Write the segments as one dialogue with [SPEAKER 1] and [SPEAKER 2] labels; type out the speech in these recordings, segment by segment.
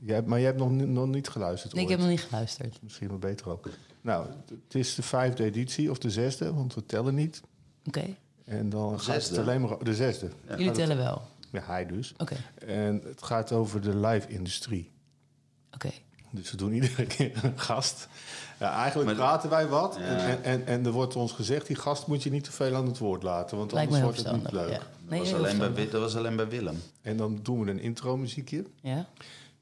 [SPEAKER 1] Jij, hebt- maar jij hebt nog, ni- nog niet geluisterd.
[SPEAKER 2] Nee, ik
[SPEAKER 1] ooit.
[SPEAKER 2] heb nog niet geluisterd.
[SPEAKER 1] Misschien wel beter ook. Nou, t- het is de vijfde editie of de zesde, want we tellen niet.
[SPEAKER 2] Oké,
[SPEAKER 1] En dan gaat het
[SPEAKER 3] zesde.
[SPEAKER 1] alleen maar o- de zesde.
[SPEAKER 2] jullie tellen wel.
[SPEAKER 1] Ja, hij dus.
[SPEAKER 2] Oké,
[SPEAKER 1] En het gaat over de live-industrie.
[SPEAKER 2] oké.
[SPEAKER 1] Dus we doen iedere keer een gast. Ja, eigenlijk
[SPEAKER 3] Maar-
[SPEAKER 1] praten wij wat.
[SPEAKER 3] Ja.
[SPEAKER 1] En, en, en er wordt ons gezegd, die gast moet je niet te veel aan het woord laten. Want
[SPEAKER 2] Lijkt me
[SPEAKER 1] anders
[SPEAKER 2] heel
[SPEAKER 1] wordt het niet
[SPEAKER 2] verstandig.
[SPEAKER 1] leuk.
[SPEAKER 2] Ja.
[SPEAKER 3] Dat, was
[SPEAKER 2] heel
[SPEAKER 3] alleen bij,
[SPEAKER 2] verstandig.
[SPEAKER 3] Wi- dat was alleen bij Willem.
[SPEAKER 1] En dan doen we een intro-muziekje.
[SPEAKER 2] Ja,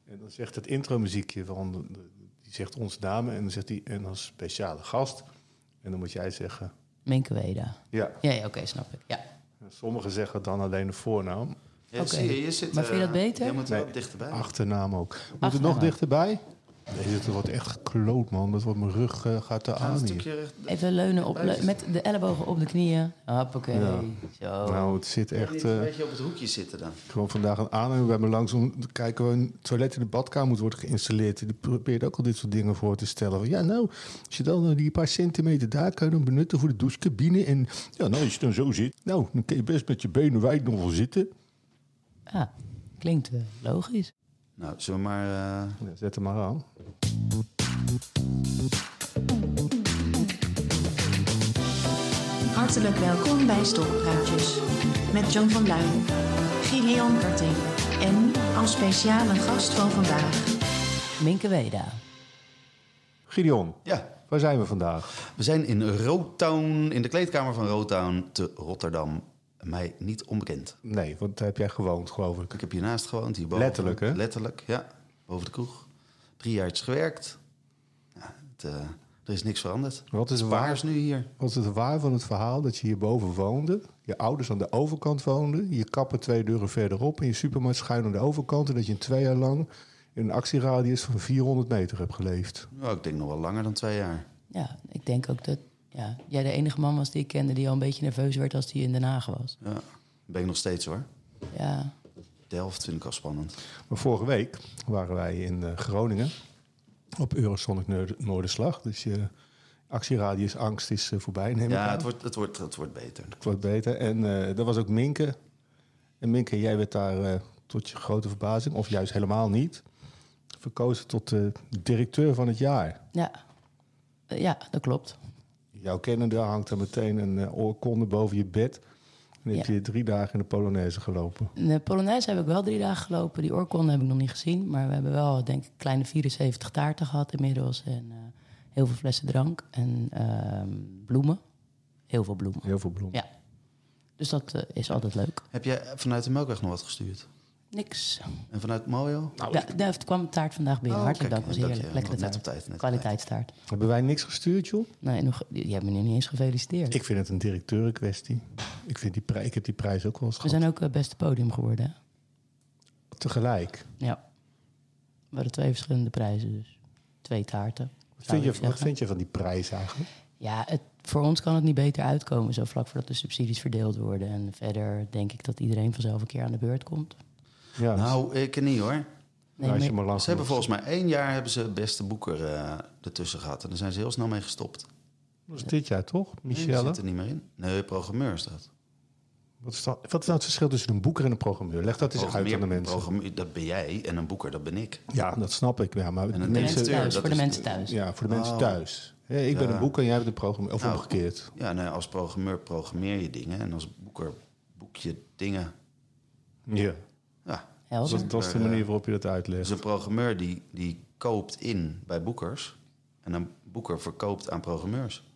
[SPEAKER 1] En dan zegt het intro-muziekje van... de- de- Die zegt onze namen en dan zegt hij en als speciale gast. En dan moet jij zeggen...
[SPEAKER 2] Menke Weda.
[SPEAKER 1] Ja,
[SPEAKER 2] Ja, ja oké, snap ik. Ja.
[SPEAKER 1] sommigen zeggen dan alleen de voornaam.
[SPEAKER 3] Ja,
[SPEAKER 2] Oké.
[SPEAKER 3] zie je, je zit,
[SPEAKER 2] Maar vind je
[SPEAKER 3] eh,
[SPEAKER 2] dat beter?
[SPEAKER 3] Je moet
[SPEAKER 1] Nee.
[SPEAKER 3] wel dichterbij.
[SPEAKER 1] Achternaam ook. Moet het
[SPEAKER 2] Achternaam.
[SPEAKER 1] nog dichterbij? Nee, dit wordt echt gekloot, man. Dat wordt mijn rug eh, gaat er
[SPEAKER 3] Ga een eh,
[SPEAKER 1] aan hier.
[SPEAKER 3] stukje recht-
[SPEAKER 2] Even leunen op,
[SPEAKER 3] Buiten.
[SPEAKER 2] met de ellebogen op de knieën. Hoppakee,
[SPEAKER 1] Ja.
[SPEAKER 2] zo.
[SPEAKER 1] Nou, het zit echt...
[SPEAKER 3] Niet
[SPEAKER 1] eh,
[SPEAKER 3] Een beetje op het hoekje zitten dan.
[SPEAKER 1] Ik kwam vandaag een aanhanger bij me langs om te kijken waar een toilet in de badkamer moet worden geïnstalleerd. Die probeert ook al dit soort dingen voor te stellen. Van, ja, nou, als je dan eh, die paar centimeter daar kan je dan benutten voor de douchecabine. En ja, nou, als je dan zo zit, nou, dan kun je best met je benen wijd nog wel zitten.
[SPEAKER 2] Ja, Ah, klinkt eh, logisch.
[SPEAKER 3] Nou, zullen we maar... eh,
[SPEAKER 1] Ja, zet hem maar aan.
[SPEAKER 4] Hartelijk welkom bij Stokpraatjes. Met John van Luijn, Gideon Karting en als speciale gast van vandaag...
[SPEAKER 2] Minke Weda.
[SPEAKER 1] Gideon,
[SPEAKER 3] ja,
[SPEAKER 1] waar zijn we vandaag?
[SPEAKER 3] We zijn in Rotown, in de kleedkamer van Rotown te Rotterdam. Mij niet onbekend.
[SPEAKER 1] Nee, want daar heb jij gewoond, geloof ik.
[SPEAKER 3] Ik heb hiernaast gewoond, hierboven.
[SPEAKER 1] Letterlijk, hè?
[SPEAKER 3] Letterlijk, ja. Boven de kroeg. Drie jaar gewerkt. Ja, het, eh, er is niks veranderd.
[SPEAKER 1] Wat is
[SPEAKER 3] Waar
[SPEAKER 1] waar?
[SPEAKER 3] is nu hier?
[SPEAKER 1] Was het waar van het verhaal dat je hierboven woonde, je ouders aan de overkant woonden, je kappen twee deuren verderop en je supermarkt schuin aan de overkant en dat je in twee jaar lang in een actieradius van 400 meter hebt geleefd?
[SPEAKER 3] Nou, ik denk nog wel langer dan twee jaar.
[SPEAKER 2] Ja, ik denk ook dat ja, jij de enige man was die ik kende die al een beetje nerveus werd als die in Den Haag was.
[SPEAKER 3] Ja, ben ik nog steeds hoor.
[SPEAKER 2] Ja,
[SPEAKER 3] Delft vind ik al spannend.
[SPEAKER 1] Maar vorige week waren wij in eh, Groningen op Eurosonic Noord- Noorderslag, dus je actieradius angst is eh, voorbij, neem ik
[SPEAKER 3] Ja,
[SPEAKER 1] aan.
[SPEAKER 3] het wordt, het wordt, het wordt beter.
[SPEAKER 1] Het wordt beter. En eh dat was ook Minke. En Minke, jij werd daar eh, tot je grote verbazing, of juist helemaal niet, verkozen tot eh, directeur van het jaar.
[SPEAKER 2] ja. Eh, ja dat klopt.
[SPEAKER 1] Jouw kennende hangt er meteen een eh, oorkonde boven je bed. En heb
[SPEAKER 2] Ja.
[SPEAKER 1] je drie dagen in de Polonaise gelopen.
[SPEAKER 2] De Polonaise heb ik wel drie dagen gelopen. Die oorkonde heb ik nog niet gezien. Maar we hebben wel, denk ik, kleine 74 taarten gehad inmiddels. En eh, heel veel flessen drank. En ehm, bloemen. Heel veel bloemen.
[SPEAKER 1] Heel veel bloemen.
[SPEAKER 2] Ja. Dus dat eh, is altijd leuk.
[SPEAKER 3] Heb jij vanuit de Melkweg nog wat gestuurd?
[SPEAKER 2] Niks.
[SPEAKER 3] En vanuit Mojo?
[SPEAKER 2] ja, daar heeft- kwam een taart vandaag binnen.
[SPEAKER 3] Nou, Oh,
[SPEAKER 2] Hartelijk
[SPEAKER 3] kijk,
[SPEAKER 2] dank. was
[SPEAKER 3] dank
[SPEAKER 2] heerlijk.
[SPEAKER 3] je.
[SPEAKER 2] Lekkere
[SPEAKER 3] Net
[SPEAKER 2] taart.
[SPEAKER 3] op tijd, net op
[SPEAKER 2] Kwaliteitstaart.
[SPEAKER 1] Hebben wij niks gestuurd, joh?
[SPEAKER 2] Nee, nog, je hebt me nu niet eens gefeliciteerd.
[SPEAKER 1] Ik vind het een directeurenkwestie. Ik, vind die prij- ik heb die prijs ook wel eens
[SPEAKER 2] We
[SPEAKER 1] gehad.
[SPEAKER 2] zijn ook het beste podium geworden. hè?
[SPEAKER 1] Tegelijk.
[SPEAKER 2] Ja. We hadden twee verschillende prijzen, dus twee taarten.
[SPEAKER 1] Wat vind,
[SPEAKER 2] zou
[SPEAKER 1] je,
[SPEAKER 2] ik
[SPEAKER 1] wat
[SPEAKER 2] zeggen.
[SPEAKER 1] vind je van die prijs eigenlijk?
[SPEAKER 2] Ja, het, voor ons kan het niet beter uitkomen, zo vlak voordat de subsidies verdeeld worden. En verder denk ik dat iedereen vanzelf een keer aan de beurt komt.
[SPEAKER 1] Ja,
[SPEAKER 3] Nou, ik niet hoor.
[SPEAKER 2] Nee,
[SPEAKER 1] als je
[SPEAKER 2] maar-
[SPEAKER 1] maar lang
[SPEAKER 3] Ze hebben
[SPEAKER 1] genoeg-
[SPEAKER 3] volgens mij één jaar hebben ze beste boeker eh, ertussen gehad. En daar zijn ze heel snel mee gestopt.
[SPEAKER 1] Dat is dit jaar toch,
[SPEAKER 3] Nee, die
[SPEAKER 1] Michelle?
[SPEAKER 3] zit er niet meer in. Nee, programmeur is dat.
[SPEAKER 1] Wat is, dat, wat is nou het verschil tussen een boeker en een programmeur? Leg dat eens uit aan de mensen.
[SPEAKER 3] programmeur, dat ben jij en een boeker, dat ben ik.
[SPEAKER 1] Ja, dat snap ik. Ja, maar de
[SPEAKER 3] een Oh.
[SPEAKER 1] mensen,
[SPEAKER 2] mensen
[SPEAKER 3] directeur,
[SPEAKER 2] thuis,
[SPEAKER 3] dat
[SPEAKER 2] voor de
[SPEAKER 3] is-
[SPEAKER 2] mensen thuis.
[SPEAKER 1] ja, voor de mensen thuis. Hé, ik ben een boeker en jij bent een programmeur.
[SPEAKER 3] Nou,
[SPEAKER 1] Of omgekeerd.
[SPEAKER 3] Ja, nee, als programmeur programmeer je dingen en als boeker boek je dingen.
[SPEAKER 1] Ja.
[SPEAKER 3] Ja.
[SPEAKER 2] Helder.
[SPEAKER 1] Dat, dat is de
[SPEAKER 3] eh,
[SPEAKER 1] manier waarop je dat uitlegt.
[SPEAKER 3] Dus een programmeur die, die koopt in bij boekers en een boeker verkoopt aan programmeurs.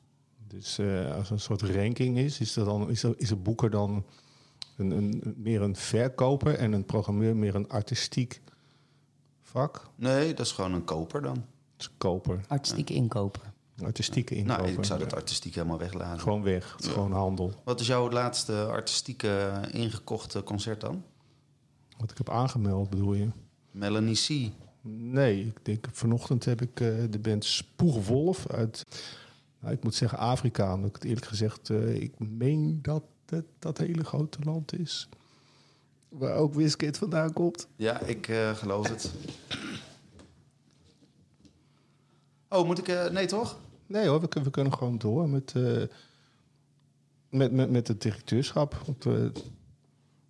[SPEAKER 1] Dus eh, als er een soort ranking is, is, dat dan, is, er, is een boeker dan een, een, meer een verkoper en een programmeur meer een artistiek vak?
[SPEAKER 3] Nee, dat is gewoon een koper dan.
[SPEAKER 1] Dus koper,
[SPEAKER 2] Artistiek inkoper.
[SPEAKER 1] een artistieke inkoper.
[SPEAKER 3] Nou, ik zou dat artistiek helemaal weglaten.
[SPEAKER 1] Gewoon weg, het is gewoon handel.
[SPEAKER 3] Wat is jouw laatste artistieke ingekochte concert dan?
[SPEAKER 1] Wat ik heb aangemeld, bedoel je?
[SPEAKER 3] Melanie C.
[SPEAKER 1] Nee, ik denk vanochtend heb ik eh, de band Spoegwolf uit, nou, ik moet zeggen Afrika. Omdat ik het eerlijk gezegd, eh, ik meen dat het dat hele grote land is. Waar ook Wiskit vandaan komt.
[SPEAKER 3] Ja, ik eh, geloof het. Oh, moet ik... eh, nee, toch?
[SPEAKER 1] Nee hoor, we, kun- we kunnen gewoon door met, eh, met, met, met het directeurschap. Want, eh,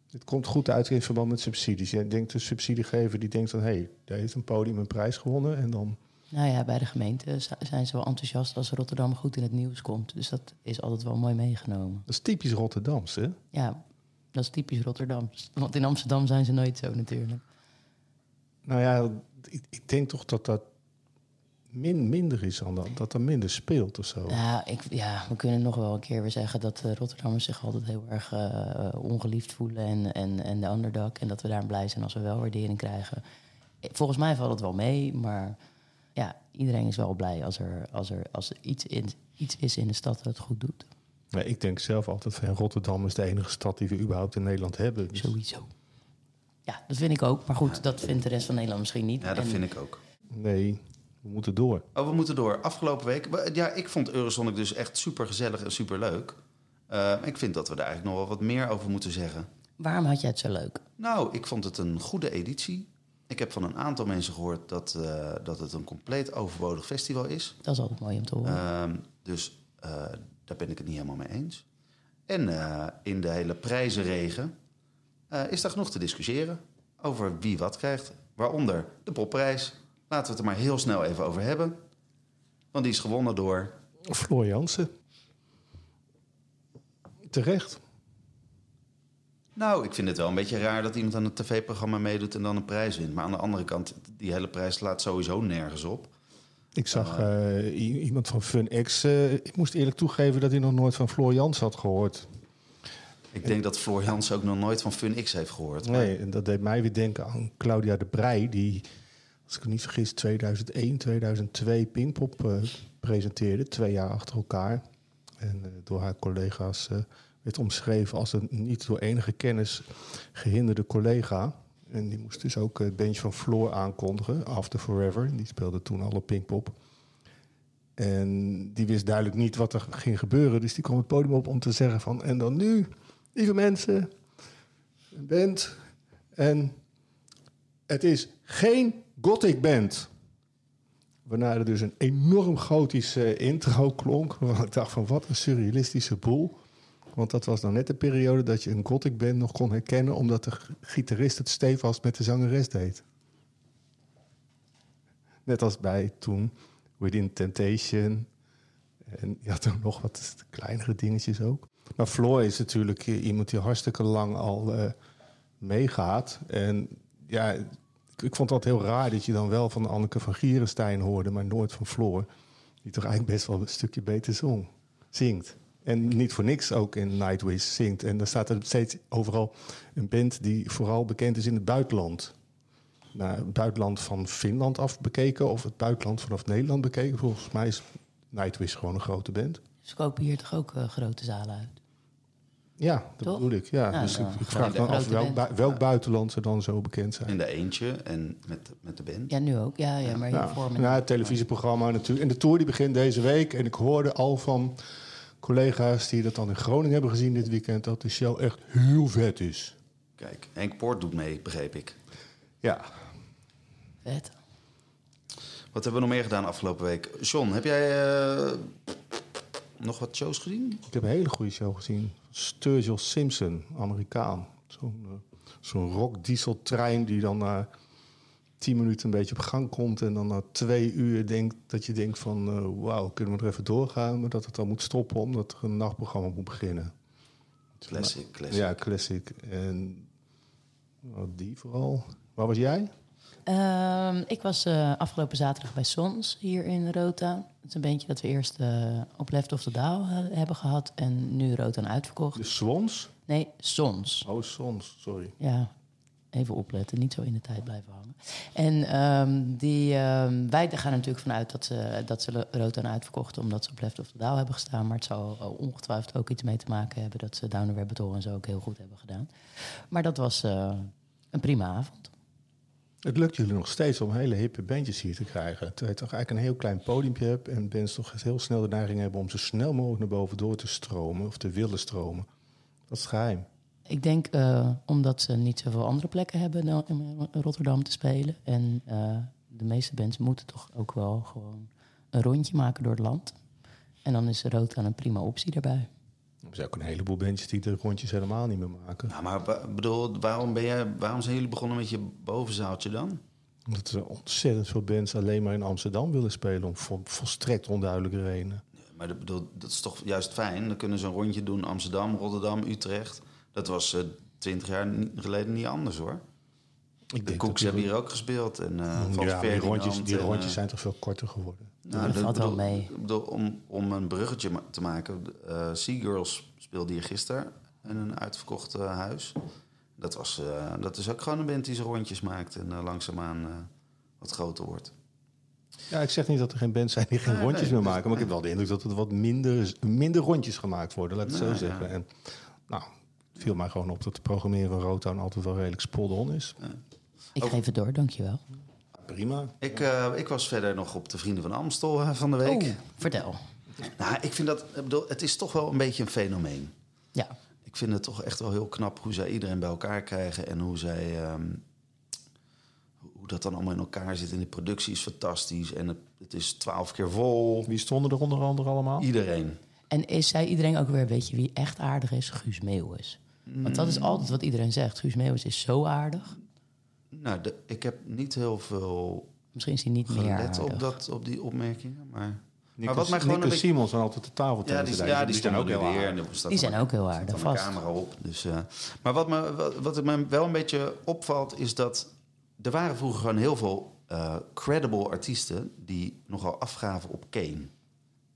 [SPEAKER 1] Dit komt goed uit in verband met subsidies. Jij denkt de subsidiegever die denkt dan, hé, hey, daar heeft een podium een prijs gewonnen. En dan,
[SPEAKER 2] Nou ja, bij de gemeente z- zijn ze wel enthousiast als Rotterdam goed in het nieuws komt. Dus dat is altijd wel mooi meegenomen.
[SPEAKER 1] dat is typisch Rotterdams, hè?
[SPEAKER 2] Ja, dat is typisch Rotterdam. Want in Amsterdam zijn ze nooit zo natuurlijk.
[SPEAKER 1] Nou ja, ik, ik denk toch dat dat min, minder is dan dat. Dat er minder speelt of zo.
[SPEAKER 2] Ja, ik, ja, we kunnen nog wel een keer weer zeggen dat eh, Rotterdammers zich altijd heel erg eh, eh, ongeliefd voelen en, en, en de underdog. En dat we daarom blij zijn als we wel waardering krijgen. Eh, Volgens mij valt het wel mee, maar ja, iedereen is wel blij als er, als er, als er iets, in, iets is in de stad dat het goed doet.
[SPEAKER 1] Ja, ik denk zelf altijd van Rotterdam is de enige stad die we überhaupt in Nederland hebben. Dus-
[SPEAKER 2] Sowieso. Ja, dat vind ik ook. Maar goed, dat vindt de rest van Nederland misschien niet.
[SPEAKER 3] Ja, dat
[SPEAKER 2] En-
[SPEAKER 3] vind ik ook.
[SPEAKER 1] nee, we moeten door.
[SPEAKER 3] Oh, we moeten door. Afgelopen week. we- Ja, ik vond Eurosonic dus echt super gezellig en super leuk. ik vind dat we daar eigenlijk nog wel wat meer over moeten zeggen.
[SPEAKER 2] Waarom had jij het zo leuk?
[SPEAKER 3] Nou, ik vond het een goede editie. Ik heb van een aantal mensen gehoord dat, eh, dat het een compleet overbodig festival is.
[SPEAKER 2] Dat is altijd mooi om te horen.
[SPEAKER 3] Ehm, dus eh, daar ben ik het niet helemaal mee eens. En eh, in de hele prijzenregen eh, is daar genoeg te discussiëren over wie wat krijgt. Waaronder de popprijs. Laten we het er maar heel snel even over hebben. Want die is gewonnen door
[SPEAKER 1] Floor Jansen. Terecht.
[SPEAKER 3] Nou, ik vind het wel een beetje raar dat iemand aan een tv-programma meedoet en dan een prijs wint. Maar aan de andere kant, die hele prijs slaat sowieso nergens op.
[SPEAKER 1] Ik zag eh, i- iemand van FunX. eh, ik moest eerlijk toegeven dat hij nog nooit van Floor Jansen had gehoord.
[SPEAKER 3] Ik denk dat Floor Jans ook nog nooit van FunX heeft gehoord.
[SPEAKER 1] Nee, en dat deed mij weer denken aan Claudia de Brij, die, als ik me niet vergis, 2001, 2002 Pinkpop eh, presenteerde, twee jaar achter elkaar. En eh, door haar collega's eh, werd omschreven als een niet door enige kennis gehinderde collega. En die moest dus ook het bandje van Floor aankondigen, After Forever. Die speelde toen alle Pinkpop. En die wist duidelijk niet wat er ging gebeuren. Dus die kwam het podium op om te zeggen van... en dan nu, lieve mensen, een band. En het is geen gothic band. Waarna er dus een enorm gotische intro klonk. Waarvan ik dacht van wat een surrealistische boel. Want dat was dan net de periode dat je een gothic band nog kon herkennen... omdat de g- gitarist het stevast met de zangeres deed. Net als bij toen Within Temptation. En je had toen nog wat kleinere dingetjes ook. Maar Floor is natuurlijk eh, iemand die hartstikke lang al eh, meegaat. En ja, ik, ik vond dat heel raar dat je dan wel van Anneke van Gierenstein hoorde, maar nooit van Floor. Die toch eigenlijk best wel een stukje beter zong, zingt. En niet voor niks ook in Nightwish zingt. En dan staat er steeds overal een band die vooral bekend is in het buitenland. Nou, het buitenland van Finland af bekeken of het buitenland vanaf Nederland bekeken. Volgens mij is Nightwish gewoon een grote band.
[SPEAKER 2] Ze kopen hier toch ook eh, grote zalen uit?
[SPEAKER 1] Ja, dat
[SPEAKER 2] Toch?
[SPEAKER 1] bedoel ik. Ja.
[SPEAKER 2] Ja,
[SPEAKER 1] dus
[SPEAKER 2] ja.
[SPEAKER 1] ik, ik vraag
[SPEAKER 2] Grote-
[SPEAKER 1] me af
[SPEAKER 2] grote
[SPEAKER 1] welk,
[SPEAKER 2] band.
[SPEAKER 1] bui- welk buitenland ze dan zo bekend zijn.
[SPEAKER 3] In de eentje en met, met de band.
[SPEAKER 2] Ja, nu ook. Ja, ja maar
[SPEAKER 1] Ja,
[SPEAKER 2] hiervoor... met-
[SPEAKER 1] ja, Nou, het televisieprogramma natuurlijk. En de tour die begint deze week. En ik hoorde al van collega's die dat dan in Groningen hebben gezien dit weekend... dat de show echt heel vet is.
[SPEAKER 3] Kijk, Henk Poort doet mee, begreep ik.
[SPEAKER 1] Ja.
[SPEAKER 2] Vet.
[SPEAKER 3] Wat hebben we nog meer gedaan afgelopen week? John, heb jij eh, nog wat shows gezien?
[SPEAKER 1] Ik heb een hele goede show gezien. Sturgill Simpson, Amerikaan. Zo'n eh, zo'n rock-dieseltrein die dan na tien minuten een beetje op gang komt... en dan na twee uur denkt dat je denkt van... eh, wauw, kunnen we er even doorgaan? Maar dat het dan moet stoppen omdat er een nachtprogramma moet beginnen.
[SPEAKER 3] Classic, classic.
[SPEAKER 1] Ja, classic. En nou, die vooral. Waar was jij?
[SPEAKER 2] Ehm, ik was eh, afgelopen zaterdag bij Sons hier in Rotown. Het is een bandje dat we eerst eh, op Left of the Daal he- hebben gehad en nu Rotown uitverkocht.
[SPEAKER 1] De Swans?
[SPEAKER 2] Nee, Sons.
[SPEAKER 1] Oh, Swans, sorry.
[SPEAKER 2] Ja, even opletten, niet zo in de tijd blijven hangen. En ehm, die, ehm, wij gaan er natuurlijk vanuit dat ze, dat ze Rotown uitverkochten omdat ze op Left of the Daal hebben gestaan. Maar het zal eh, ongetwijfeld ook iets mee te maken hebben dat ze Downer Rabbit Hole en zo ook heel goed hebben gedaan. Maar dat was eh, een prima avond.
[SPEAKER 1] Het lukt jullie nog steeds om hele hippe bandjes hier te krijgen. Terwijl je toch eigenlijk een heel klein podiumpje hebt... en bands toch heel snel de neiging hebben om zo snel mogelijk naar boven door te stromen... of te willen stromen. Dat is het geheim.
[SPEAKER 2] Ik denk eh, omdat ze niet zoveel andere plekken hebben dan in Rotterdam te spelen. En eh, de meeste bands moeten toch ook wel gewoon een rondje maken door het land. En dan is rood aan een prima optie daarbij.
[SPEAKER 1] Er zijn ook een heleboel bandjes die de rondjes helemaal niet meer maken.
[SPEAKER 3] Nou, maar wa- bedoel, waarom, ben jij, waarom zijn jullie begonnen met je bovenzaaltje dan?
[SPEAKER 1] Omdat er ontzettend veel bands alleen maar in Amsterdam willen spelen. Om vol- volstrekt onduidelijke redenen.
[SPEAKER 3] Maar dat, bedoel, dat is toch juist fijn? Dan kunnen ze een rondje doen Amsterdam, Rotterdam, Utrecht. Dat was eh, twintig jaar ni- geleden niet anders hoor.
[SPEAKER 1] Ik
[SPEAKER 3] De Koeks hebben hier ook gespeeld. En, eh, Frans
[SPEAKER 1] Ja, maar die
[SPEAKER 3] Ferdinand
[SPEAKER 1] rondjes, die
[SPEAKER 3] en, eh,
[SPEAKER 1] rondjes zijn toch veel korter geworden.
[SPEAKER 2] Dat
[SPEAKER 3] Nou, dat-
[SPEAKER 2] valt wel
[SPEAKER 3] bedoel-
[SPEAKER 2] mee.
[SPEAKER 3] ik bedoel, om, om een bruggetje ma- te maken. eh Seagirls speelde hier gisteren in een uitverkocht eh, huis. Dat, was, eh, dat is ook gewoon een band die zijn rondjes maakt en eh, langzaamaan eh, wat groter wordt.
[SPEAKER 1] Ja, ik zeg niet dat er geen bands zijn die geen
[SPEAKER 3] Nee,
[SPEAKER 1] rondjes
[SPEAKER 3] nee,
[SPEAKER 1] meer
[SPEAKER 3] dus-
[SPEAKER 1] maken. Maar ik heb wel de indruk dat er wat minder, minder rondjes gemaakt worden, laat ik het
[SPEAKER 3] Nou,
[SPEAKER 1] zo zeggen. En nou, het viel mij gewoon op dat de programmeren van Rotown altijd wel redelijk spot on is.
[SPEAKER 2] Ik geef het door, dankjewel.
[SPEAKER 1] Prima.
[SPEAKER 3] Ik, eh, ik was verder nog op de Vrienden van Amstel eh, van de week.
[SPEAKER 2] Oeh, Oh, vertel.
[SPEAKER 3] Nou, ik vind dat, ik bedoel, het is toch wel een beetje een fenomeen.
[SPEAKER 2] Ja,
[SPEAKER 3] Ik vind het toch echt wel heel knap hoe zij iedereen bij elkaar krijgen en hoe zij. ehm, hoe dat dan allemaal in elkaar zit. En de productie is fantastisch. En het, het is twaalf keer vol.
[SPEAKER 1] Wie stonden er onder andere allemaal?
[SPEAKER 2] Oh.
[SPEAKER 3] Iedereen.
[SPEAKER 2] En is zij iedereen ook weer, weet je wie echt aardig is? Guus Meeuwis. Want dat is
[SPEAKER 1] Mm.
[SPEAKER 2] altijd wat iedereen zegt. Guus Meeuwis is zo aardig.
[SPEAKER 3] Nou, de- ik heb niet heel veel
[SPEAKER 2] Misschien is hij niet meer
[SPEAKER 3] gelet
[SPEAKER 2] aardig.
[SPEAKER 3] op, dat, op die opmerkingen. Maar, maar
[SPEAKER 1] Nick
[SPEAKER 3] wat
[SPEAKER 1] en-
[SPEAKER 3] mij
[SPEAKER 1] Nick
[SPEAKER 3] gewoon een
[SPEAKER 1] en
[SPEAKER 3] beetje.
[SPEAKER 1] Simon zijn altijd de tafel
[SPEAKER 3] Ja,
[SPEAKER 1] tegen
[SPEAKER 3] die,
[SPEAKER 1] te
[SPEAKER 3] ja,
[SPEAKER 1] duiken.
[SPEAKER 3] die, staan ook
[SPEAKER 1] zijn
[SPEAKER 3] heel
[SPEAKER 1] ook
[SPEAKER 3] weer.
[SPEAKER 1] heel
[SPEAKER 3] En
[SPEAKER 1] aardig.
[SPEAKER 3] er staat
[SPEAKER 2] Die
[SPEAKER 3] dan
[SPEAKER 2] zijn ook heel
[SPEAKER 3] Er staat
[SPEAKER 2] aardig,
[SPEAKER 3] dan een
[SPEAKER 2] vast.
[SPEAKER 3] camera op. Dus, eh, maar wat me, wat, wat me wel een beetje opvalt is dat... Er waren vroeger gewoon heel veel eh, credible artiesten... die nogal afgaven op Kane,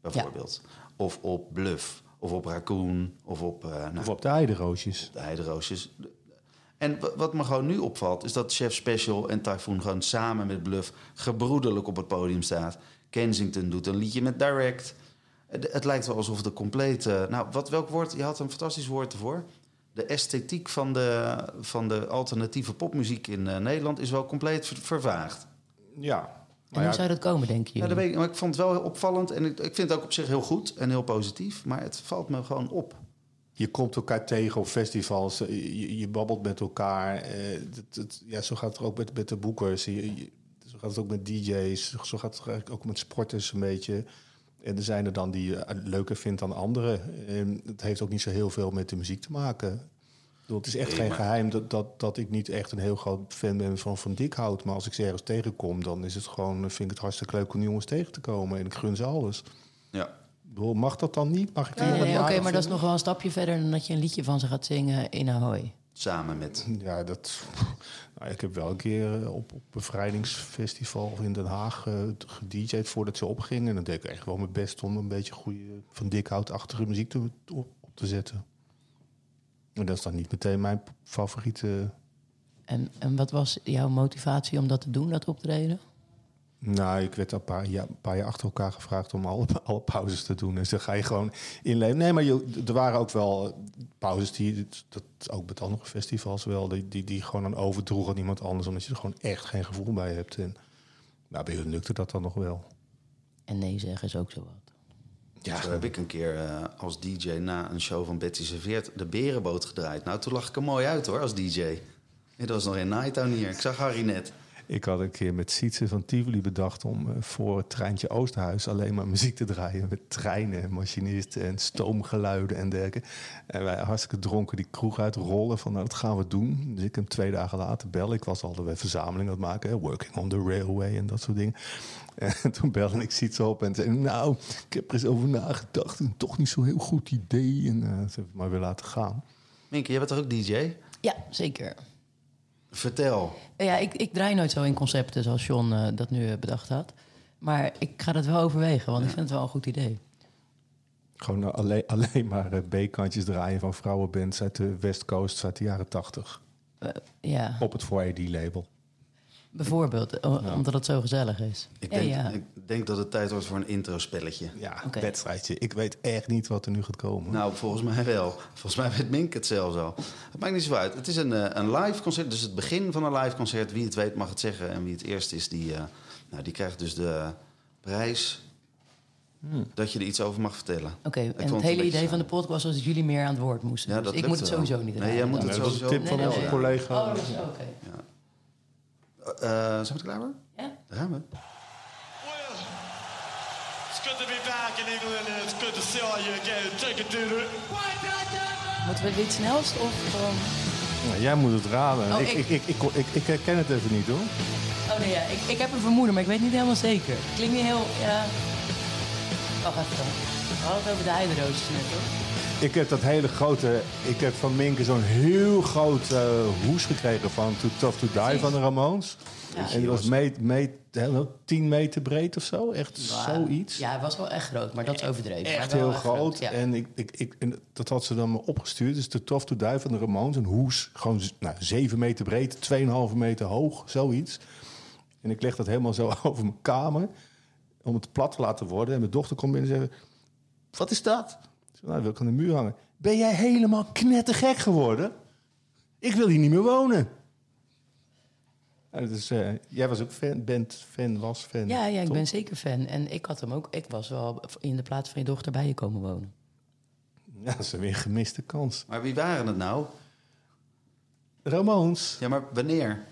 [SPEAKER 3] bijvoorbeeld. Of op Bluff, of op Raccoon, of op... eh, nou,
[SPEAKER 1] Of op de heideroosjes.
[SPEAKER 3] de heideroosjes. En wa- wat me gewoon nu opvalt, is dat Chef Special en Typhoon gewoon samen met Bluff gebroederlijk op het podium staat. Kensington doet een liedje met Direct. Het, het lijkt wel alsof de complete. Nou, wat, welk woord? Je had een fantastisch woord ervoor. De esthetiek van de, van de alternatieve popmuziek in eh, Nederland is wel compleet ver- vervaagd.
[SPEAKER 1] Ja.
[SPEAKER 2] En
[SPEAKER 1] Maar
[SPEAKER 2] hoe
[SPEAKER 1] ja, nou,
[SPEAKER 2] zou dat komen, denk je?
[SPEAKER 3] Ja, dat weet ik, maar ik vond het wel heel opvallend en ik, ik vind het ook op zich heel goed en heel positief, maar het valt me gewoon op.
[SPEAKER 1] je komt elkaar tegen op festivals, eh, je, je babbelt met elkaar. eh, dat- dat- ja, zo gaat het ook met, met de boekers, je- je- zo gaat het ook met DJ's, zo gaat het eigenlijk ook met sporters een beetje. En er zijn er dan die je eh, leuker vindt dan anderen. En het heeft ook niet zo heel veel met de muziek te maken. Ik bedoel, het is echt geen geheim dat, dat, dat ik niet echt een heel groot fan ben van Van Dikhout. Maar als ik ze ergens tegenkom, dan is het gewoon, eh, vind ik het hartstikke leuk om die jongens tegen te komen. En ik gun ze alles.
[SPEAKER 3] Ja.
[SPEAKER 1] Ik bedoel, mag dat dan niet? Mag ik die
[SPEAKER 2] Nee, nee,
[SPEAKER 1] jongen
[SPEAKER 2] nee,
[SPEAKER 1] niet
[SPEAKER 2] Oké,
[SPEAKER 1] aardig
[SPEAKER 2] maar dat is
[SPEAKER 1] vinden?
[SPEAKER 2] nog wel een stapje verder dan dat je een liedje van ze gaat zingen in Ahoy.
[SPEAKER 3] Samen met
[SPEAKER 1] Ja, dat. Nou, ik heb wel een keer eh, op, op bevrijdingsfestival in Den Haag eh gedj'd voordat ze opgingen. En dan deed ik echt wel mijn best om een beetje goede van dikhoutachtige muziek te, op, op te zetten. En dat is dan niet meteen mijn p- favoriete.
[SPEAKER 2] En, en wat was jouw motivatie om dat te doen, dat optreden?
[SPEAKER 1] Nou, ik werd een paar, ja, een paar jaar achter elkaar gevraagd om alle, alle pauzes te doen. Dus dan ga je gewoon inleven. Nee, maar je, d- er waren ook wel eh, pauzes die, dat is ook met andere festivals wel, die, die, die gewoon aan overdroegen aan iemand anders, omdat je er gewoon echt geen gevoel bij hebt. En nou, bij jullie lukte dat dan nog wel. Dus
[SPEAKER 2] En nee zeggen is ook zo wat.
[SPEAKER 3] Ja. Zo heb ik een keer eh, als DJ na een show van Betty Serveert de berenboot gedraaid. Nou, toen lag ik er mooi uit hoor, als DJ. Dit was nog in Nighttown hier. Ik zag Harry net.
[SPEAKER 1] Ik had een keer met Sietse van Tivoli bedacht om eh, voor het treintje Oosterhuis alleen maar muziek te draaien. Met treinen, machinisten en stoomgeluiden en dergelijke. En wij hartstikke dronken die kroeg uitrollen van nou, dat gaan we doen. Dus ik hem twee dagen later bellen. Ik was al de verzameling aan het maken, hè, working on the railway en dat soort dingen. En toen belde ik Sietse op en zei, nou, ik heb er eens over nagedacht. En toch niet zo'n heel goed idee. En eh, ze hebben het maar weer laten gaan.
[SPEAKER 3] Minke, jij bent toch ook DJ?
[SPEAKER 2] Ja, zeker.
[SPEAKER 3] Vertel.
[SPEAKER 2] Ja, ik, ik draai nooit zo in concepten zoals John eh, dat nu eh, bedacht had. Maar ik ga dat wel overwegen, want ik vind het wel een goed idee.
[SPEAKER 1] Gewoon eh, alleen, alleen maar eh, B-kantjes draaien van vrouwenbands uit de West Coast uit de jaren tachtig.
[SPEAKER 2] Eh, ja.
[SPEAKER 1] Op het 4AD-label.
[SPEAKER 2] Bijvoorbeeld, o- omdat het zo gezellig is.
[SPEAKER 3] Ik
[SPEAKER 2] ja,
[SPEAKER 3] denk,
[SPEAKER 2] ja.
[SPEAKER 3] ik denk dat het tijd wordt voor een introspelletje.
[SPEAKER 1] Ja,
[SPEAKER 2] Oké.
[SPEAKER 1] wedstrijdje. Ik weet echt niet wat er nu gaat komen.
[SPEAKER 3] Nou, volgens mij wel. Volgens mij weet Mink het zelfs al. Het maakt niet zo uit. Het is een, eh, een live concert, dus het begin van een live concert. Wie het weet mag het zeggen. En wie het eerst is, die, eh, nou, die krijgt dus de prijs dat je er iets over mag vertellen.
[SPEAKER 2] Hmm. Oké,
[SPEAKER 3] Ik
[SPEAKER 2] en
[SPEAKER 3] vond
[SPEAKER 2] het
[SPEAKER 3] een
[SPEAKER 2] hele
[SPEAKER 3] beetje
[SPEAKER 2] idee
[SPEAKER 3] saai.
[SPEAKER 2] van de podcast was dat jullie meer aan het woord moesten.
[SPEAKER 3] Ja,
[SPEAKER 2] Dus
[SPEAKER 3] dat
[SPEAKER 2] ik
[SPEAKER 3] lukt
[SPEAKER 2] moet het
[SPEAKER 3] wel.
[SPEAKER 2] sowieso niet
[SPEAKER 3] Nee,
[SPEAKER 2] draaien
[SPEAKER 3] jij moet
[SPEAKER 2] dan.
[SPEAKER 3] het
[SPEAKER 1] dat was een
[SPEAKER 3] sowieso-
[SPEAKER 1] tip van
[SPEAKER 2] Nee, nee,
[SPEAKER 1] onze
[SPEAKER 2] nee.
[SPEAKER 1] collega.
[SPEAKER 2] Oh, dat is oké.
[SPEAKER 3] Eh, zijn we er klaar voor?
[SPEAKER 2] Ja.
[SPEAKER 3] Daar gaan we.
[SPEAKER 5] It's good to be back in England and it's good to see all you again. Take it, dude.
[SPEAKER 2] Moeten we dit snelst of gewoon...
[SPEAKER 1] Nou, jij moet het raden.
[SPEAKER 2] Oh,
[SPEAKER 1] ik, ik,
[SPEAKER 2] ik-
[SPEAKER 1] ik, ik, ik, ik herken het even niet hoor.
[SPEAKER 2] Oh nee, ja. ik, ik heb een vermoeden, maar ik weet niet helemaal zeker. Klinkt niet heel... Ja. Oh, Wacht even dan. We hadden het over de heideroosjes net, hoor.
[SPEAKER 1] Ik heb dat hele grote. Ik heb van Minke zo'n heel groot eh, hoes gekregen van Too Tough to Die van de Ramones. En die was meet, meet, helemaal 10 meter breed of zo. Echt zoiets.
[SPEAKER 2] Ja, het was wel echt groot, maar dat is overdreven. Maar
[SPEAKER 1] Echt
[SPEAKER 2] wel
[SPEAKER 1] heel groot.
[SPEAKER 2] ja.
[SPEAKER 1] En, ik, ik, ik, en dat had ze dan me opgestuurd. Dus de Tough to Die van de Ramones. Een hoes. Gewoon z- nou, 7 meter breed, 2,5 meter hoog. Zoiets. En ik leg dat helemaal zo over mijn kamer. Om het plat te laten worden. En mijn dochter komt binnen en zegt... Wat is dat? Ik zeg, nou, dat wil ik aan de muur hangen. Ben jij helemaal knettergek geworden? Ik wil hier niet meer wonen. Ja, dus, eh, jij was ook fan, bent fan, was fan.
[SPEAKER 2] Ja, ja, ik
[SPEAKER 1] toch?
[SPEAKER 2] ben zeker fan. En ik had hem ook. Ik was wel in de plaats van je dochter bij je komen wonen.
[SPEAKER 1] Ja, dat is weer een gemiste kans.
[SPEAKER 3] Maar wie waren het nou?
[SPEAKER 1] Ramones.
[SPEAKER 3] Ja, maar wanneer?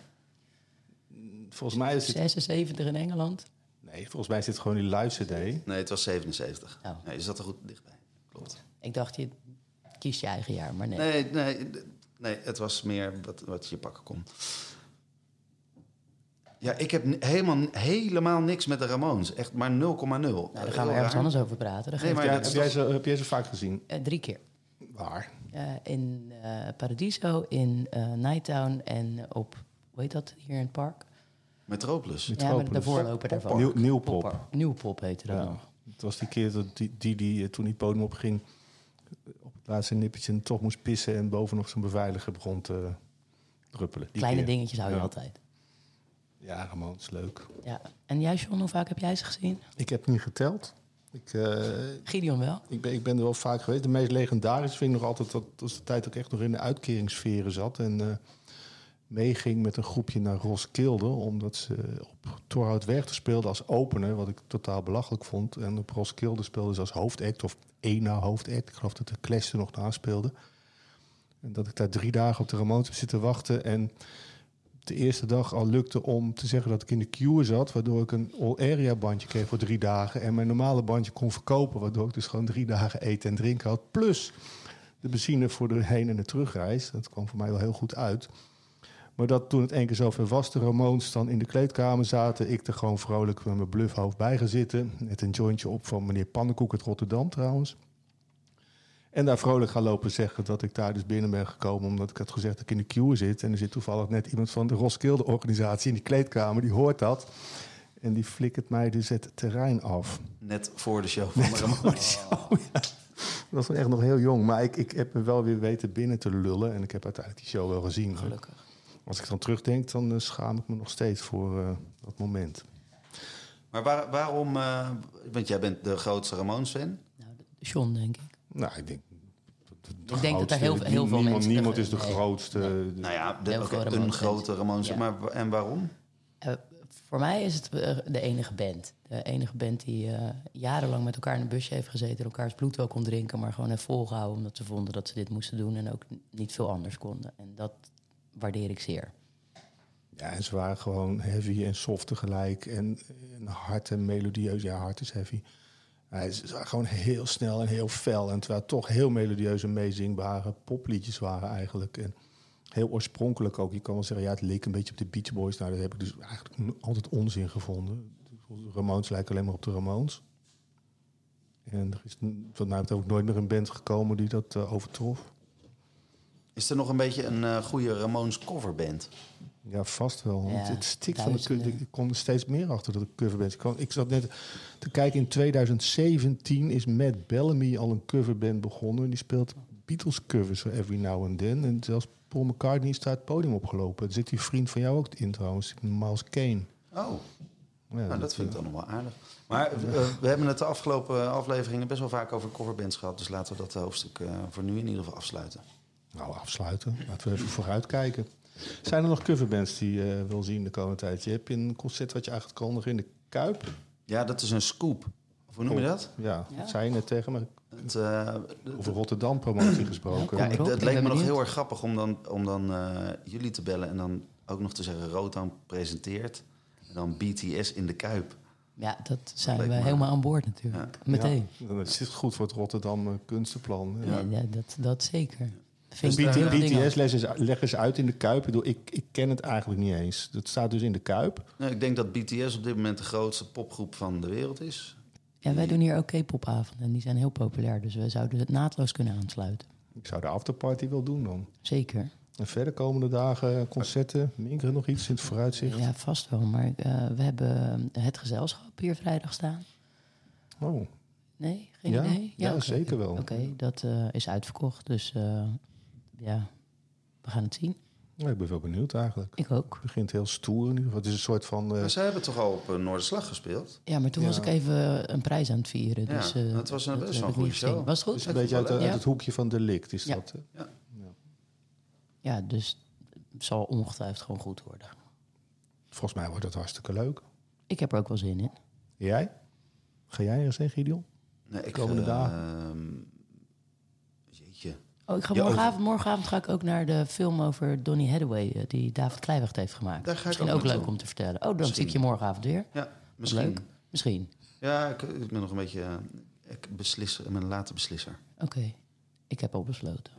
[SPEAKER 1] Volgens mij is het...
[SPEAKER 2] 76 in Engeland.
[SPEAKER 1] Nee, volgens mij zit gewoon die live CD.
[SPEAKER 3] Nee, het was 77.
[SPEAKER 2] Oh.
[SPEAKER 3] Nee, je zat er goed dichtbij. Klopt.
[SPEAKER 2] Ik dacht, je kiest je eigen jaar, maar nee.
[SPEAKER 3] Nee, nee, d- nee het was meer wat, wat je pakken kon. Ja, ik heb n- helemaal, helemaal niks met de Ramones. Echt maar 0,0. Nou,
[SPEAKER 2] Nou, daar gaan we ergens anders over praten. Dat
[SPEAKER 3] Nee,
[SPEAKER 2] geeft
[SPEAKER 3] maar
[SPEAKER 1] Ja,
[SPEAKER 3] dat
[SPEAKER 1] heb,
[SPEAKER 3] is
[SPEAKER 1] jij
[SPEAKER 3] toch-
[SPEAKER 1] ze, heb jij ze vaak gezien?
[SPEAKER 2] eh, drie keer.
[SPEAKER 1] Waar?
[SPEAKER 2] Eh, in eh, Paradiso, in eh, Nighttown en op, hoe heet dat hier in het park?
[SPEAKER 3] Metropolis.
[SPEAKER 2] Ja, maar de
[SPEAKER 1] Metropolis.
[SPEAKER 2] voorloper daarvan.
[SPEAKER 1] Nieuw, nieuwpop.
[SPEAKER 2] Poppark. Nieuwpop heette dat
[SPEAKER 1] Ja.
[SPEAKER 2] nog.
[SPEAKER 1] Het was die keer dat die, die, die eh, toen die podium opging... op het laatste nippertje toch moest pissen... en bovenop zijn beveiliger begon te druppelen. Die
[SPEAKER 2] Kleine
[SPEAKER 1] keer.
[SPEAKER 2] dingetjes hou je
[SPEAKER 1] Ja.
[SPEAKER 2] altijd.
[SPEAKER 1] Ja, Ramones, leuk.
[SPEAKER 2] Ja. En jij, John, hoe vaak heb jij ze gezien?
[SPEAKER 1] Ik heb niet geteld. Ik, eh,
[SPEAKER 2] Gideon wel.
[SPEAKER 1] ik, ben, ik ben er wel vaak geweest. De meest legendarische vind ik nog altijd... dat was de tijd dat ik echt nog in de uitkeringssferen zat... en eh, meeging met een groepje naar Roskilde... omdat ze op Torhoutweg speelden als opener... wat ik totaal belachelijk vond. En op Roskilde speelden ze als hoofdact of één na hoofdact. Ik geloof dat de Clash er nog na speelde. En dat ik daar drie dagen op de Ramones heb zitten wachten... en de eerste dag al lukte om te zeggen dat ik in de queue zat... waardoor ik een all-area bandje kreeg voor drie dagen... en mijn normale bandje kon verkopen... waardoor ik dus gewoon drie dagen eten en drinken had. Plus de benzine voor de heen- en de terugreis. Dat kwam voor mij wel heel goed uit. Maar dat toen het één keer zover was, de Ramones dan in de kleedkamer zaten... ik er gewoon vrolijk met mijn bluffhoofd bij gaan zitten. Net een jointje op van meneer Pannenkoek uit Rotterdam trouwens. En daar vrolijk gaan lopen zeggen dat ik daar dus binnen ben gekomen... omdat ik had gezegd dat ik in de queue zit. En er zit toevallig net iemand van de Roskilde-organisatie in die kleedkamer. Die hoort dat. En die flikkert mij dus het terrein af.
[SPEAKER 3] Net voor de show van de Ramones.
[SPEAKER 1] Ik was echt nog heel jong, maar ik, ik heb me wel weer weten binnen te lullen. En ik heb uiteindelijk die show wel gezien.
[SPEAKER 2] Gelukkig.
[SPEAKER 1] Als ik dan terugdenk, dan eh, schaam ik me nog steeds voor eh, dat moment.
[SPEAKER 3] Maar waar- waarom... eh, want jij bent de grootste Ramones-fan.
[SPEAKER 2] Nou, John, denk ik.
[SPEAKER 1] Nou, ik denk...
[SPEAKER 2] Ik denk dat er heel, heel veel
[SPEAKER 1] niemand,
[SPEAKER 2] mensen...
[SPEAKER 1] Niemand is de
[SPEAKER 2] Nee.
[SPEAKER 1] grootste. de-
[SPEAKER 3] Nou ja, de,
[SPEAKER 2] Heel
[SPEAKER 3] oké,
[SPEAKER 2] veel
[SPEAKER 3] een
[SPEAKER 2] Ramones-fans.
[SPEAKER 3] grote Ramones.
[SPEAKER 2] Ja.
[SPEAKER 3] Maar, wa- en waarom?
[SPEAKER 2] Eh, voor mij is het eh, de enige band. De enige band die eh, jarenlang met elkaar in een busje heeft gezeten... en elkaars bloed wel kon drinken, maar gewoon heeft volgehouden... omdat ze vonden dat ze dit moesten doen en ook n- niet veel anders konden. En dat waardeer ik zeer.
[SPEAKER 1] Ja, en ze waren gewoon heavy en soft tegelijk. En, en hard en melodieus. Ja, hard is heavy. Maar ze waren gewoon heel snel en heel fel. En terwijl het toch heel melodieus en meezingbare popliedjes waren eigenlijk. En heel oorspronkelijk ook. Je kan wel zeggen, ja, het leek een beetje op de Beach Boys. Nou, dat heb ik dus eigenlijk n- altijd onzin gevonden. De Ramones lijken alleen maar op de Ramones. En er is n- wat mij betreft ook nooit meer een band gekomen die dat eh, overtrof.
[SPEAKER 3] Is er nog een beetje een eh, goede Ramones coverband?
[SPEAKER 1] Ja, vast wel. want
[SPEAKER 2] Ja,
[SPEAKER 1] het stikt van de
[SPEAKER 2] duizenden.
[SPEAKER 1] cover. Ik kom er steeds meer achter dat ik coverband ik, kwam- ik zat net te kijken, in 2017 is Matt Bellamy al een coverband begonnen. Die speelt Beatles covers every now and then. En zelfs Paul McCartney is daar het podium opgelopen. Er zit die vriend van jou ook in trouwens, Miles Kane.
[SPEAKER 3] Oh,
[SPEAKER 1] Ja,
[SPEAKER 3] nou, dat vind ik dan nog wel aardig. Maar eh, we hebben het de afgelopen eh, afleveringen best wel vaak over coverbands gehad. Dus laten we dat hoofdstuk eh, voor nu in ieder geval afsluiten.
[SPEAKER 1] Nou, afsluiten. Laten we even vooruitkijken. Zijn er nog coverbands die je eh, wil zien de komende tijd? Je hebt een concert wat je aangekondigd in de Kuip.
[SPEAKER 3] Ja, dat is een scoop. Of hoe noem je dat?
[SPEAKER 1] Ja, dat zei je net tegen me.
[SPEAKER 3] Het, eh,
[SPEAKER 1] Over Rotterdam promotie gesproken.
[SPEAKER 3] ja,
[SPEAKER 2] Kom
[SPEAKER 3] ik,
[SPEAKER 2] erop,
[SPEAKER 3] het
[SPEAKER 2] ik
[SPEAKER 3] leek
[SPEAKER 2] ben
[SPEAKER 3] me nog
[SPEAKER 2] benieuwd.
[SPEAKER 3] heel erg grappig om dan, om dan eh, jullie te bellen en dan ook nog te zeggen... Rotan presenteert en dan BTS in de Kuip.
[SPEAKER 2] Ja, dat zijn
[SPEAKER 3] leek
[SPEAKER 2] we
[SPEAKER 3] me-
[SPEAKER 2] helemaal aan boord natuurlijk. Meteen.
[SPEAKER 1] Ja, dat zit goed voor het Rotterdam eh, kunstenplan. Ja.
[SPEAKER 2] Nee, ja, dat, dat zeker.
[SPEAKER 1] Dus
[SPEAKER 2] Vind ik heel veel dingen.
[SPEAKER 1] BTS-leggers leg eens uit in de Kuip. Ik, bedoel, ik, ik ken het eigenlijk niet eens. Dat staat dus in de Kuip.
[SPEAKER 3] Nou, ik denk dat BTS op dit moment de grootste popgroep van de wereld is.
[SPEAKER 2] Ja, wij doen hier ook K-popavonden en die zijn heel populair. Dus we zouden het naadloos kunnen aansluiten.
[SPEAKER 1] Ik zou de afterparty wel doen dan.
[SPEAKER 2] Zeker.
[SPEAKER 1] En verder komende dagen eh, concerten. Minkeren nog iets in het vooruitzicht.
[SPEAKER 2] Ja, vast wel. Maar eh, we hebben het gezelschap hier vrijdag staan.
[SPEAKER 1] Oh,
[SPEAKER 2] Nee, geen
[SPEAKER 1] Ja,
[SPEAKER 2] idee?
[SPEAKER 1] ja,
[SPEAKER 2] oké.
[SPEAKER 1] zeker wel.
[SPEAKER 2] Oké, dat eh, is uitverkocht. Dus eh, ja, we gaan het zien.
[SPEAKER 1] nou, ik ben wel benieuwd eigenlijk.
[SPEAKER 2] Ik ook.
[SPEAKER 1] Het begint heel stoer nu. Het is een soort van... eh,
[SPEAKER 3] Maar zij hebben toch al op eh, Noorderslag gespeeld?
[SPEAKER 2] Ja, maar toen was
[SPEAKER 1] Ja.
[SPEAKER 2] ik even een prijs aan het vieren.
[SPEAKER 3] Ja,
[SPEAKER 2] Dus, eh,
[SPEAKER 3] dat was een best
[SPEAKER 2] heb ik
[SPEAKER 3] wel een
[SPEAKER 2] niet
[SPEAKER 3] goede
[SPEAKER 2] gezien.
[SPEAKER 3] show.
[SPEAKER 2] Was het
[SPEAKER 1] dus
[SPEAKER 2] goed?
[SPEAKER 1] een beetje uit, de-
[SPEAKER 3] Ja.
[SPEAKER 1] uit het hoekje van delict is
[SPEAKER 2] Ja.
[SPEAKER 1] dat. eh. hè?
[SPEAKER 2] Ja, dus het zal ongetwijfeld gewoon goed worden.
[SPEAKER 1] Volgens mij wordt dat hartstikke leuk.
[SPEAKER 2] Ik heb er ook wel zin in.
[SPEAKER 1] Jij? Ga jij ergens heen, Gideon?
[SPEAKER 3] Nee, ik,
[SPEAKER 1] Komende
[SPEAKER 3] eh,
[SPEAKER 1] dagen.
[SPEAKER 3] ehm, jeetje.
[SPEAKER 2] Oh, ik ga
[SPEAKER 3] Ja, over-
[SPEAKER 2] morgenavond, morgenavond ga ik ook naar de film over Donny Hathaway... eh, die David Kleiwacht heeft gemaakt.
[SPEAKER 3] Daar ga ik
[SPEAKER 2] Misschien
[SPEAKER 3] ook
[SPEAKER 2] ook leuk
[SPEAKER 3] naartoe.
[SPEAKER 2] om te vertellen. Oh, dan zie
[SPEAKER 3] Misschien.
[SPEAKER 2] ik je morgenavond weer.
[SPEAKER 3] Ja, misschien.
[SPEAKER 2] Leuk. Misschien.
[SPEAKER 3] Ja, ik, ik ben nog een beetje... eh, ik beslis, ik ben een late beslisser.
[SPEAKER 2] Oké. Ik heb al besloten.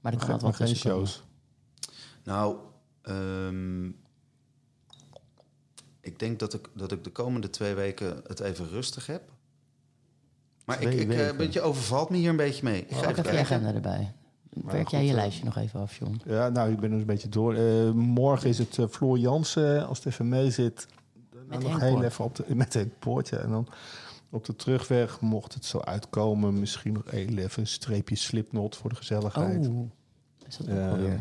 [SPEAKER 2] Maar ik
[SPEAKER 1] Maar
[SPEAKER 2] kan het wel
[SPEAKER 1] geen
[SPEAKER 2] tussen komen.
[SPEAKER 1] shows.
[SPEAKER 3] Nou, ehm, ik denk dat ik, dat ik de komende twee weken het even rustig heb. Maar ik,
[SPEAKER 1] Twee
[SPEAKER 3] ik, eh,
[SPEAKER 1] weken.
[SPEAKER 3] weet je overvalt me hier een beetje mee. Ik ga
[SPEAKER 2] Pak
[SPEAKER 3] even
[SPEAKER 2] even Oh, je
[SPEAKER 3] kijken.
[SPEAKER 2] agenda erbij. Werk
[SPEAKER 1] goed,
[SPEAKER 2] jij je
[SPEAKER 1] eh,
[SPEAKER 2] lijstje nog even af, John?
[SPEAKER 1] Ja, nou, ik ben dus een beetje door. Eh, morgen is het eh, Floor Jansen, als het even mee zit. Dan
[SPEAKER 2] Met
[SPEAKER 1] nog
[SPEAKER 2] Henk
[SPEAKER 1] heel
[SPEAKER 2] Poort.
[SPEAKER 1] even op de, met het poortje. En dan op de terugweg, mocht het zo uitkomen, misschien nog heel even een streepje slipnot voor de gezelligheid.
[SPEAKER 2] Oh, is dat ook
[SPEAKER 1] Eh,
[SPEAKER 2] alweer?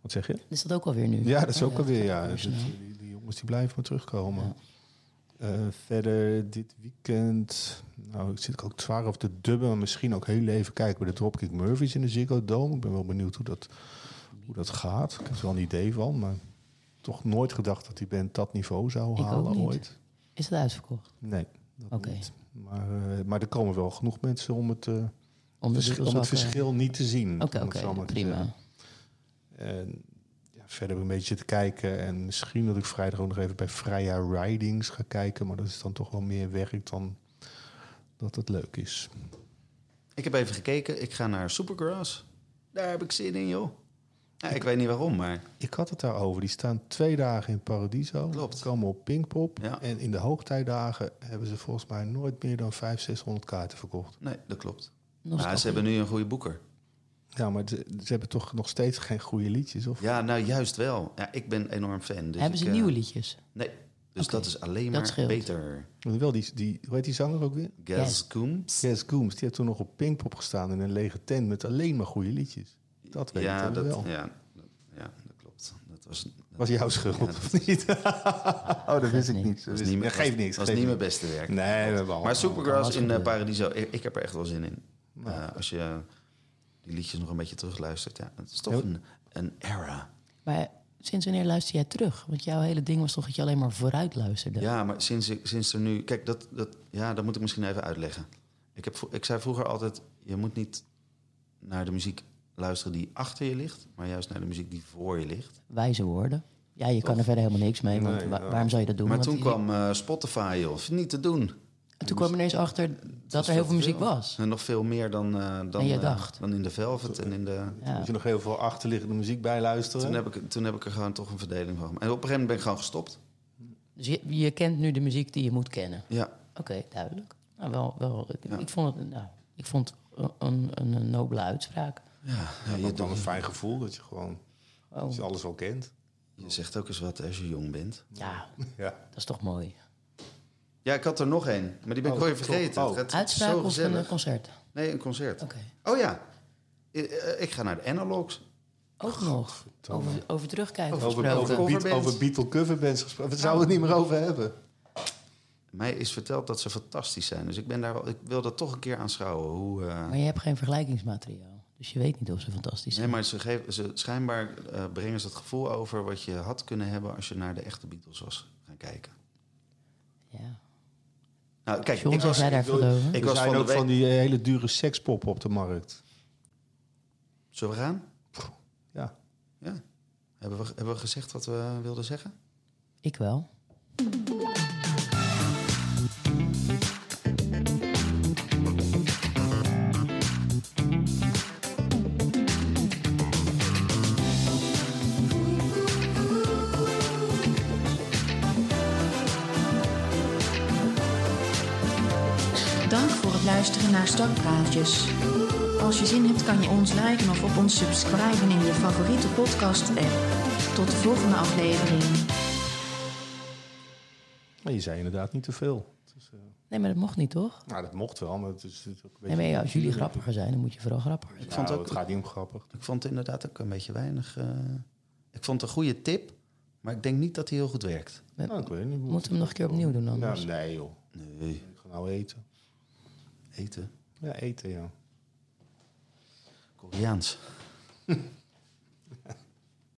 [SPEAKER 1] Wat zeg je?
[SPEAKER 2] Is dat ook alweer nu?
[SPEAKER 1] Ja, dat is
[SPEAKER 2] Oh,
[SPEAKER 1] ook alweer. Ja.
[SPEAKER 2] gaat
[SPEAKER 1] Dus
[SPEAKER 2] weer
[SPEAKER 1] het-
[SPEAKER 2] snel.
[SPEAKER 1] die, die jongens die blijven maar terugkomen. Eh, verder dit weekend. Nou, ik zit ik ook zwaar op te dubben. Maar misschien ook heel even kijken bij de Dropkick Murphys in de Ziggo Dome. Ik ben wel benieuwd hoe dat, hoe dat gaat. Ik heb er wel een idee van. Maar toch nooit gedacht dat die band dat niveau zou
[SPEAKER 2] Ik ook
[SPEAKER 1] halen
[SPEAKER 2] niet.
[SPEAKER 1] ooit.
[SPEAKER 2] Is het uitverkocht?
[SPEAKER 1] Nee. dat
[SPEAKER 2] Oké.
[SPEAKER 1] niet. Maar, eh, maar er komen wel genoeg mensen om het, eh,
[SPEAKER 2] Om de
[SPEAKER 1] verschil-
[SPEAKER 2] winkels
[SPEAKER 1] om het
[SPEAKER 2] af, eh,
[SPEAKER 1] verschil niet te zien.
[SPEAKER 2] Oké,
[SPEAKER 1] om het
[SPEAKER 2] oké,
[SPEAKER 1] zo maar te zeggen.
[SPEAKER 2] prima.
[SPEAKER 1] En ja, verder een beetje te kijken. En misschien dat ik vrijdag ook nog even bij Freya Ridings ga kijken. Maar dat is dan toch wel meer werk dan dat het leuk is.
[SPEAKER 3] Ik heb even gekeken. Ik ga naar Supergrass. Daar heb ik zin in, joh. Ja, ik weet niet waarom, maar
[SPEAKER 1] Ik had het daarover. Die staan twee dagen in Paradiso.
[SPEAKER 3] Klopt.
[SPEAKER 1] Ze Komen op Pinkpop.
[SPEAKER 3] Ja.
[SPEAKER 1] En in de hoogtijdagen hebben ze volgens mij nooit meer dan 500, 600 kaarten verkocht.
[SPEAKER 3] nee, dat klopt.
[SPEAKER 2] Nostalgie.
[SPEAKER 3] Maar ze hebben nu een goede boeker.
[SPEAKER 1] Ja, maar ze, ze hebben toch nog steeds geen goede liedjes? Of?
[SPEAKER 3] Ja, nou juist wel. Ja, ik ben enorm fan. Dus
[SPEAKER 2] hebben
[SPEAKER 3] ik,
[SPEAKER 2] ze
[SPEAKER 3] eh,
[SPEAKER 2] nieuwe liedjes?
[SPEAKER 3] Nee, dus
[SPEAKER 2] Oké,
[SPEAKER 3] dat is alleen
[SPEAKER 2] dat
[SPEAKER 3] maar
[SPEAKER 2] scheelt.
[SPEAKER 3] beter.
[SPEAKER 1] Want Wel die, die, hoe heet die zanger ook weer?
[SPEAKER 3] Gaz Coombs.
[SPEAKER 1] Jess Gooms. Die heeft toen nog op Pinkpop gestaan in een lege tent met alleen maar goede liedjes. Dat weet ik
[SPEAKER 3] Ja,
[SPEAKER 1] dan
[SPEAKER 3] dat,
[SPEAKER 1] wel.
[SPEAKER 3] ja, dat- ja, dat klopt. Dat was, dat
[SPEAKER 1] Was jouw schuld,
[SPEAKER 3] Ja,
[SPEAKER 1] of niet? oh, dat wist ik niet. Dat
[SPEAKER 3] was
[SPEAKER 1] wist ik
[SPEAKER 3] niet
[SPEAKER 1] niet.
[SPEAKER 3] mijn-
[SPEAKER 1] Geeft
[SPEAKER 3] was-
[SPEAKER 1] niks.
[SPEAKER 3] was
[SPEAKER 1] geeft
[SPEAKER 3] niet mijn
[SPEAKER 1] niks.
[SPEAKER 3] beste werk.
[SPEAKER 1] Nee, Nou, we hebben al.
[SPEAKER 3] Maar Supergrass
[SPEAKER 2] alles
[SPEAKER 3] in eh,
[SPEAKER 2] gebeurd.
[SPEAKER 3] Paradiso, ik, ik heb er echt wel zin in.
[SPEAKER 1] Nou,
[SPEAKER 3] Eh, als je die liedjes nog een beetje terugluistert, ja, het is toch
[SPEAKER 1] Ja.
[SPEAKER 3] een, een era.
[SPEAKER 2] Maar sinds wanneer luister jij terug? Want jouw hele ding was toch dat je alleen maar vooruit luisterde?
[SPEAKER 3] Ja, maar sinds, ik- sinds er nu... Kijk, dat, dat, ja, dat moet ik misschien even uitleggen. Ik, heb, vro- ik zei vroeger altijd, je moet niet naar de muziek luisteren die achter je ligt... maar juist naar de muziek die voor je ligt.
[SPEAKER 2] Wijze woorden. Ja, je kan er verder helemaal niks mee, want
[SPEAKER 1] Nee,
[SPEAKER 2] wa-
[SPEAKER 1] ja.
[SPEAKER 2] waarom zou je dat doen?
[SPEAKER 3] maar
[SPEAKER 2] Want
[SPEAKER 3] toen
[SPEAKER 2] je-
[SPEAKER 3] kwam eh, Spotify, of niet te doen.
[SPEAKER 2] en toen kwam je ineens achter dat er heel veel muziek was.
[SPEAKER 3] En nog veel meer dan, eh, dan,
[SPEAKER 2] En jij
[SPEAKER 3] eh,
[SPEAKER 2] dacht.
[SPEAKER 3] dan in de Velvet en in de...
[SPEAKER 2] Ja.
[SPEAKER 1] Moet je nog heel veel achterliggende muziek bij luisteren?
[SPEAKER 3] Toen heb, ik, toen heb ik er gewoon toch een verdeling van. gemaakt. En op een gegeven moment ben ik gewoon gestopt.
[SPEAKER 2] Dus je, je kent nu de muziek die je moet kennen.
[SPEAKER 3] Ja,
[SPEAKER 2] Oké, duidelijk. Nou, wel, wel, ik, ik vond het, nou, ik vond het een, een, een nobele uitspraak.
[SPEAKER 3] ja, ja,
[SPEAKER 1] Dat
[SPEAKER 3] je,
[SPEAKER 1] is dan een fijn gevoel dat je gewoon
[SPEAKER 2] Oh,
[SPEAKER 1] dat je alles wel kent.
[SPEAKER 3] je zegt ook eens wat als je jong bent.
[SPEAKER 2] ja,
[SPEAKER 1] Ja.
[SPEAKER 2] dat is toch mooi.
[SPEAKER 3] Ja, ik had er nog één, maar die ben ik
[SPEAKER 1] Oh,
[SPEAKER 3] alweer vergeten.
[SPEAKER 1] oh.
[SPEAKER 3] Het gaat
[SPEAKER 2] Uitspraak
[SPEAKER 3] zo
[SPEAKER 2] of een
[SPEAKER 3] gezellig.
[SPEAKER 2] concert?
[SPEAKER 3] Nee, een concert.
[SPEAKER 2] Oké.
[SPEAKER 3] Oh ja, I- eh, ik ga naar de Analogs.
[SPEAKER 2] Ook nog. Over, over terugkijken
[SPEAKER 1] Over,
[SPEAKER 2] gesproken.
[SPEAKER 1] over,
[SPEAKER 3] Coverbands.
[SPEAKER 1] Beat- over Beatle coverbands gesproken. Daar zouden we het niet meer over hebben.
[SPEAKER 3] Mij is verteld dat ze fantastisch zijn, dus ik, ben daar wel, ik wil dat toch een keer aanschouwen. Hoe, eh,
[SPEAKER 2] Maar je hebt geen vergelijkingsmateriaal. Dus je weet niet of ze fantastisch
[SPEAKER 3] Nee,
[SPEAKER 2] zijn.
[SPEAKER 3] maar ze geven, ze, schijnbaar eh, brengen ze het gevoel over wat je had kunnen hebben als je naar de echte Beatles was gaan kijken.
[SPEAKER 2] ja.
[SPEAKER 3] Nou, kijk,
[SPEAKER 2] John,
[SPEAKER 3] ik
[SPEAKER 2] was
[SPEAKER 3] was,
[SPEAKER 2] jij daar
[SPEAKER 1] wil-
[SPEAKER 2] geloven?
[SPEAKER 3] ik
[SPEAKER 1] er
[SPEAKER 3] was
[SPEAKER 1] zijn
[SPEAKER 3] van de
[SPEAKER 1] ook
[SPEAKER 3] week-
[SPEAKER 1] van die eh, hele dure sekspop op de markt.
[SPEAKER 3] Zullen we gaan?
[SPEAKER 1] Ja.
[SPEAKER 3] Ja. Hebben we, hebben we gezegd wat we wilden zeggen?
[SPEAKER 2] Ik wel.
[SPEAKER 4] Dank voor het luisteren naar Stadpraatjes. Als je zin hebt kan je ons liken of op ons subscriben in je favoriete podcast app. Tot de volgende aflevering.
[SPEAKER 1] Maar je zei inderdaad niet te veel. Het is, eh,
[SPEAKER 2] Nee, maar dat mocht niet, toch?
[SPEAKER 1] nou, dat mocht wel, maar het is, het is ook een beetje...
[SPEAKER 2] Nee, maar ja, als jullie grappiger zijn, dan moet je vooral grappiger zijn.
[SPEAKER 3] Ik vond
[SPEAKER 1] Nou,
[SPEAKER 3] ook-
[SPEAKER 1] het gaat niet om grappig.
[SPEAKER 3] Ik vond het inderdaad ook een beetje weinig. eh, ik vond het een goede tip, maar ik denk niet dat hij heel goed werkt.
[SPEAKER 2] We
[SPEAKER 1] Nou, ik weet niet.
[SPEAKER 2] moeten hem nog een keer opnieuw doen anders.
[SPEAKER 1] Nou, nee joh.
[SPEAKER 3] Nee,
[SPEAKER 1] Ik ga nou eten.
[SPEAKER 3] eten.
[SPEAKER 1] Ja, eten ja.
[SPEAKER 3] Koreaans.